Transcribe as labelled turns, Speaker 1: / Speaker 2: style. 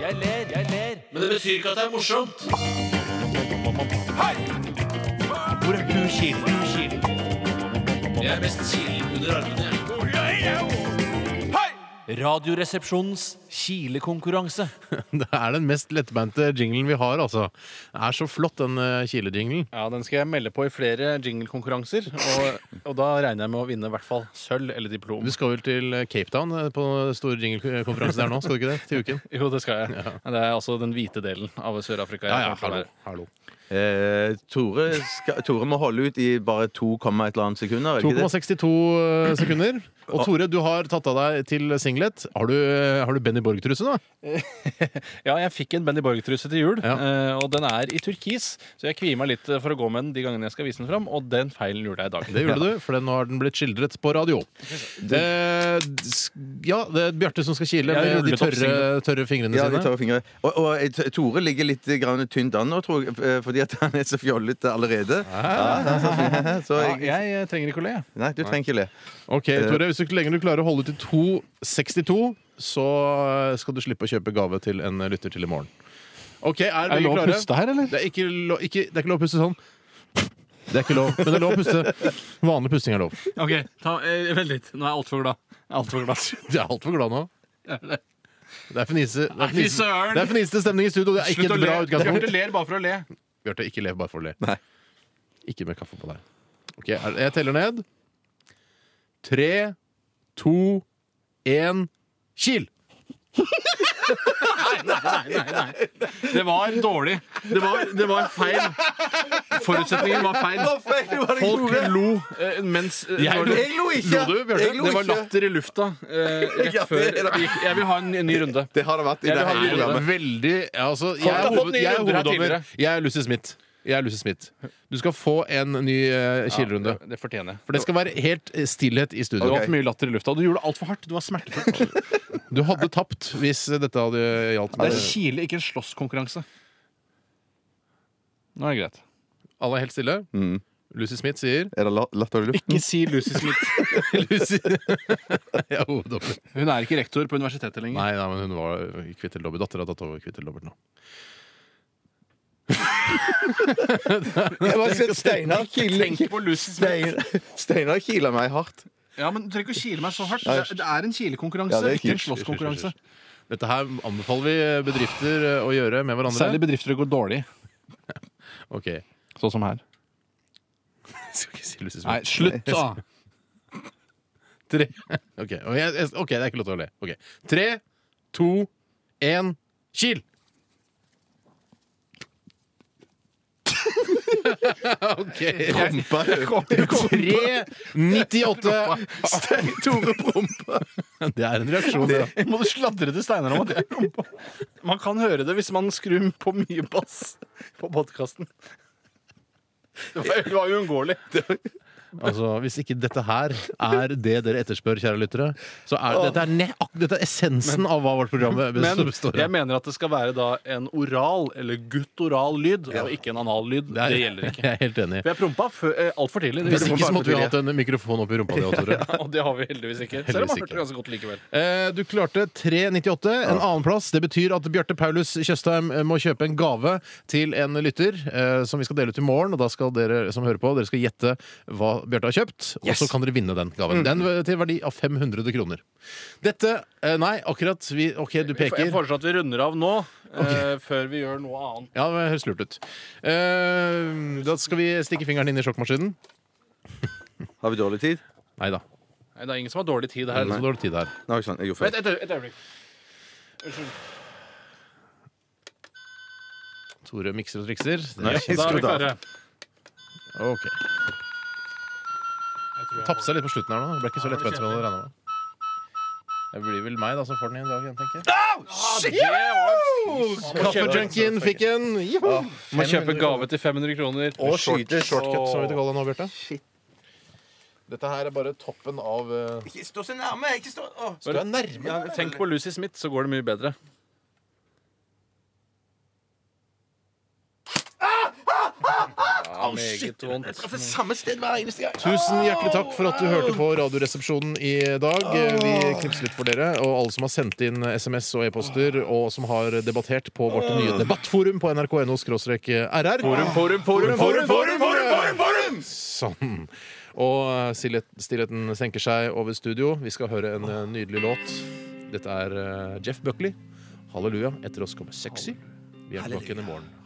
Speaker 1: jeg ler, jeg ler.
Speaker 2: Men det betyr ikke at det er morsomt.
Speaker 1: Hvor er du, Kilen? Du, Kilen?
Speaker 2: Jeg er mest kilen under armene. jeg.
Speaker 1: Radioresepsjonens kilekonkurranse.
Speaker 3: Det er den mest lettbeinte jinglen vi har, altså. Det er så flott, den eh, kilejinglen.
Speaker 4: Ja, den skal jeg melde på i flere jinglekonkurranser. Og, og da regner jeg med å vinne i hvert fall sølv eller diplom.
Speaker 3: Du skal vel til eh, Cape Town eh, på store jinglekonferanse der nå, skal du ikke det? Til uken?
Speaker 4: Jo, det skal jeg. Det er altså den hvite delen av Sør-Afrika. jeg kommer til å være.
Speaker 3: hallo.
Speaker 5: Eh, Tore, skal, Tore må holde ut i bare 2, et eller annet sekunder. er det ikke det?
Speaker 3: 2,62 eh, sekunder. Og Tore, du har tatt av deg til singlet. Har du, eh, har du Benny Borg-truse nå?
Speaker 4: Ja, jeg fikk en Benny Borg-truse til jul,
Speaker 3: Ja.
Speaker 4: eh, og den er i turkis. Så jeg kvier meg litt for å gå med den de gangene jeg skal vise den fram, og den feilen gjorde jeg i dag.
Speaker 3: Det gjorde du, for den- nå har den blitt skildret på radio. Eh, s- ja, det er Bjarte som skal kile
Speaker 4: Jeg
Speaker 3: med de
Speaker 4: rullet opp
Speaker 3: tørre, tørre fingrene
Speaker 5: Ja, de
Speaker 3: sine.
Speaker 5: tørre fingre. Og, og eh, T- Tore ligger litt grann tynt an nå, tror jeg, eh, fordi at han er så fjollete allerede. Ja, så, så
Speaker 4: Ja,
Speaker 5: jeg,
Speaker 4: jeg eh, trenger ikke å le. jeg.
Speaker 5: nei, du trenger ikke le.
Speaker 3: Ok, Tore, Hvis du ikke lenger du klarer å holde til 2,62, så eh, skal du slippe å kjøpe gave til en eh, lytter til i morgen. Ok, Er
Speaker 4: Er det
Speaker 3: vi
Speaker 4: lov å
Speaker 3: klare?
Speaker 4: puste her, eller?
Speaker 3: Det er ikke, lo, ikke, det er ikke lov å puste sånn. Det er ikke lov, men det er lov å puste. Vanlig pusting er lov.
Speaker 4: OK, eh, vent litt. Nå er jeg altfor glad. Altfor glad.
Speaker 3: Du er altfor glad nå. Det er fnise, det er
Speaker 4: Nei, fy
Speaker 3: fnise,
Speaker 4: søren!
Speaker 3: det er fnisete stemning i studio. Det er ikke et bra utgangspunkt.
Speaker 4: ler bare for å le.
Speaker 3: Bjarte, ikke lev bare for å le.
Speaker 5: Nei.
Speaker 3: Ikke med kaffe på deg. Ok, er- Jeg teller ned. Tre, to, én, kil!
Speaker 4: Det var dårlig. Det var, det var feil. Forutsetningen var feil. Folk lo eh, mens eh,
Speaker 3: Jeg
Speaker 4: når
Speaker 3: lo-
Speaker 4: de-
Speaker 5: Jeg lo ikke!
Speaker 3: Lo du,
Speaker 5: Jeg
Speaker 3: Bjarte?
Speaker 5: lo
Speaker 4: Det var
Speaker 5: ikke.
Speaker 4: latter i lufta eh,
Speaker 5: Ja,
Speaker 4: rett før
Speaker 5: det er det.
Speaker 4: vi gikk. Jeg vil ha en, en ny runde.
Speaker 5: Det har det vært i
Speaker 4: Jeg
Speaker 5: det
Speaker 4: vil ha
Speaker 5: hele
Speaker 4: en
Speaker 5: programmet.
Speaker 3: Veldig ja, altså, jeg,
Speaker 4: har
Speaker 3: er
Speaker 4: fått
Speaker 3: hoved,
Speaker 4: nye
Speaker 3: jeg er
Speaker 4: runder her
Speaker 3: hoveddommer.
Speaker 4: tidligere.
Speaker 3: Jeg er Lucy Smith. Jeg er Lucy Smith. Du skal få en ny uh, kilrunde.
Speaker 4: Det, det fortjener jeg.
Speaker 3: For det skal være helt eh, stillhet i
Speaker 4: Det
Speaker 3: studio.
Speaker 4: var for mye latter i lufta. Du gjorde det altfor hardt. Du var smertefull.
Speaker 3: Du hadde tapt hvis dette hadde gjaldt
Speaker 4: Det er
Speaker 3: meg.
Speaker 4: kile, ikke en slåsskonkurranse. Nå er det greit.
Speaker 3: Alle er helt stille.
Speaker 4: Mm.
Speaker 3: Lucy Smith sier
Speaker 5: Er det la- latter i luften?
Speaker 4: Ikke si Lucy Smith.
Speaker 3: Lucy Jeg er hoveddommer.
Speaker 4: Hun er ikke rektor på universitetet lenger.
Speaker 3: Nei, nei, men hun var Kvittel Dobbelt. Dattera tatt over Kvittel Dobbelt nå.
Speaker 5: Jeg bare ser Steinar kiler
Speaker 4: Tenk på Lucy Smith.
Speaker 5: Stein- Steinar kiler meg hardt.
Speaker 4: Ja, men Du trenger ikke å kile meg så hardt. Det, det er en kilekonkurranse,
Speaker 5: Ja, det er
Speaker 4: ikke en
Speaker 5: kile.
Speaker 4: slåsskonkurranse.
Speaker 3: Dette her anbefaler vi bedrifter eh, å gjøre med hverandre.
Speaker 4: Særlig bedrifter det går dårlig,
Speaker 3: Ok.
Speaker 4: sånn som her.
Speaker 3: Skal ikke si Lucy
Speaker 4: Nei, slutt,
Speaker 3: Smith.
Speaker 4: da!
Speaker 3: Tre. Ok, og jeg- jeg- ok, det er ikke lov til å le. Ok. Tre, to, én, kil! OK.
Speaker 5: Rumpa
Speaker 3: Tre, 98 Stein Tore Prompa. Det er en reaksjon, det.
Speaker 4: Må du sladre til Steinar om at det er rumpa? Man kan høre det hvis man skrur på mye bass på podkasten. Det var- det var uunngåelig.
Speaker 3: Altså, Hvis ikke dette her er det dere etterspør, kjære lyttere, så er dette, er ne, ak, dette er essensen av hva vårt program
Speaker 4: Men
Speaker 3: består består
Speaker 4: jeg
Speaker 3: av.
Speaker 4: mener at det skal være da en oral eller guttoral lyd, og ikke en anal-lyd. Det gjelder ikke.
Speaker 3: Jeg er helt enig.
Speaker 4: For jeg prompa altfor tidlig. Det
Speaker 3: Hvis
Speaker 4: gjorde
Speaker 3: ikke så
Speaker 4: jeg.
Speaker 3: måtte vi hatt en mikrofon opp i rumpa di. også, Tore.
Speaker 4: Ja, og det har vi heldigvis ikke. Selv om
Speaker 3: Heldigvis
Speaker 4: man hørte
Speaker 3: ikke.
Speaker 4: ganske godt likevel.
Speaker 3: Eh, Du klarte 3,98. En annenplass. Det betyr at Bjarte Paulus Tjøstheim eh, må kjøpe en gave til en lytter eh, som vi skal dele ut i morgen. Og da skal dere som hører på, dere skal gjette hva Bjarte har kjøpt, og så kan dere vinne den gaven. Den eh, til verdi av 500 kroner. Dette eh, Nei, akkurat. Vi, OK, du
Speaker 4: Jeg
Speaker 3: peker.
Speaker 4: foreslår at vi runder av nå, eh, før vi gjør noe annet.
Speaker 3: Ja, det høres lurt ut. Eh, da skal vi stikke fingeren inn i sjokkmaskinen.
Speaker 5: Har vi dårlig tid?
Speaker 3: Nei da.
Speaker 4: Nei, det er ingen som har dårlig tid her.
Speaker 3: Så dårlig tid her.
Speaker 5: Nei, ikke sant, jeg gjorde
Speaker 4: Vent,
Speaker 5: feil.
Speaker 4: et, øye- et øyeblikk.
Speaker 3: Tore mikser og trikser. Det
Speaker 5: Nei,
Speaker 3: er
Speaker 5: jeg
Speaker 4: Da er vi
Speaker 5: skrudde av.
Speaker 4: klare.
Speaker 3: Ok. Tapte seg litt på slutten her nå. Det ble ikke så lettbeint som jeg hadde regna med. Det blir vel meg da som får den i dag igjen, tenker jeg. Kaffejunkien fikk en! Joho!
Speaker 4: Må kjøpe gave til 500 kroner.
Speaker 3: Og skyte shortcut, som vi kaller det nå, Bjarte. Dette her er bare toppen av eh,
Speaker 5: Ikke stå så nærme! Ikke stå Åh,
Speaker 3: Du er nærme!
Speaker 4: Tenk på Lucy Smith, så går det mye bedre.
Speaker 3: Ja, meget
Speaker 4: meget vondt.
Speaker 5: Treffer samme sted hver eneste gang.
Speaker 3: Tusen hjertelig takk for at du hørte på Radioresepsjonen i dag. Vi knipser litt for dere, og alle som har sendt inn SMS og e-poster, og som har debattert på vårt nye debattforum på nrk.no rr. Forum, forum, forum, Sånn. Og stillhet- stillheten senker seg over studio. Vi skal høre en eh, nydelig låt. Dette er eh, Jeff Buckley. Halleluja. Etter oss kommer Sexy. Vi er tilbake igjen i morgen.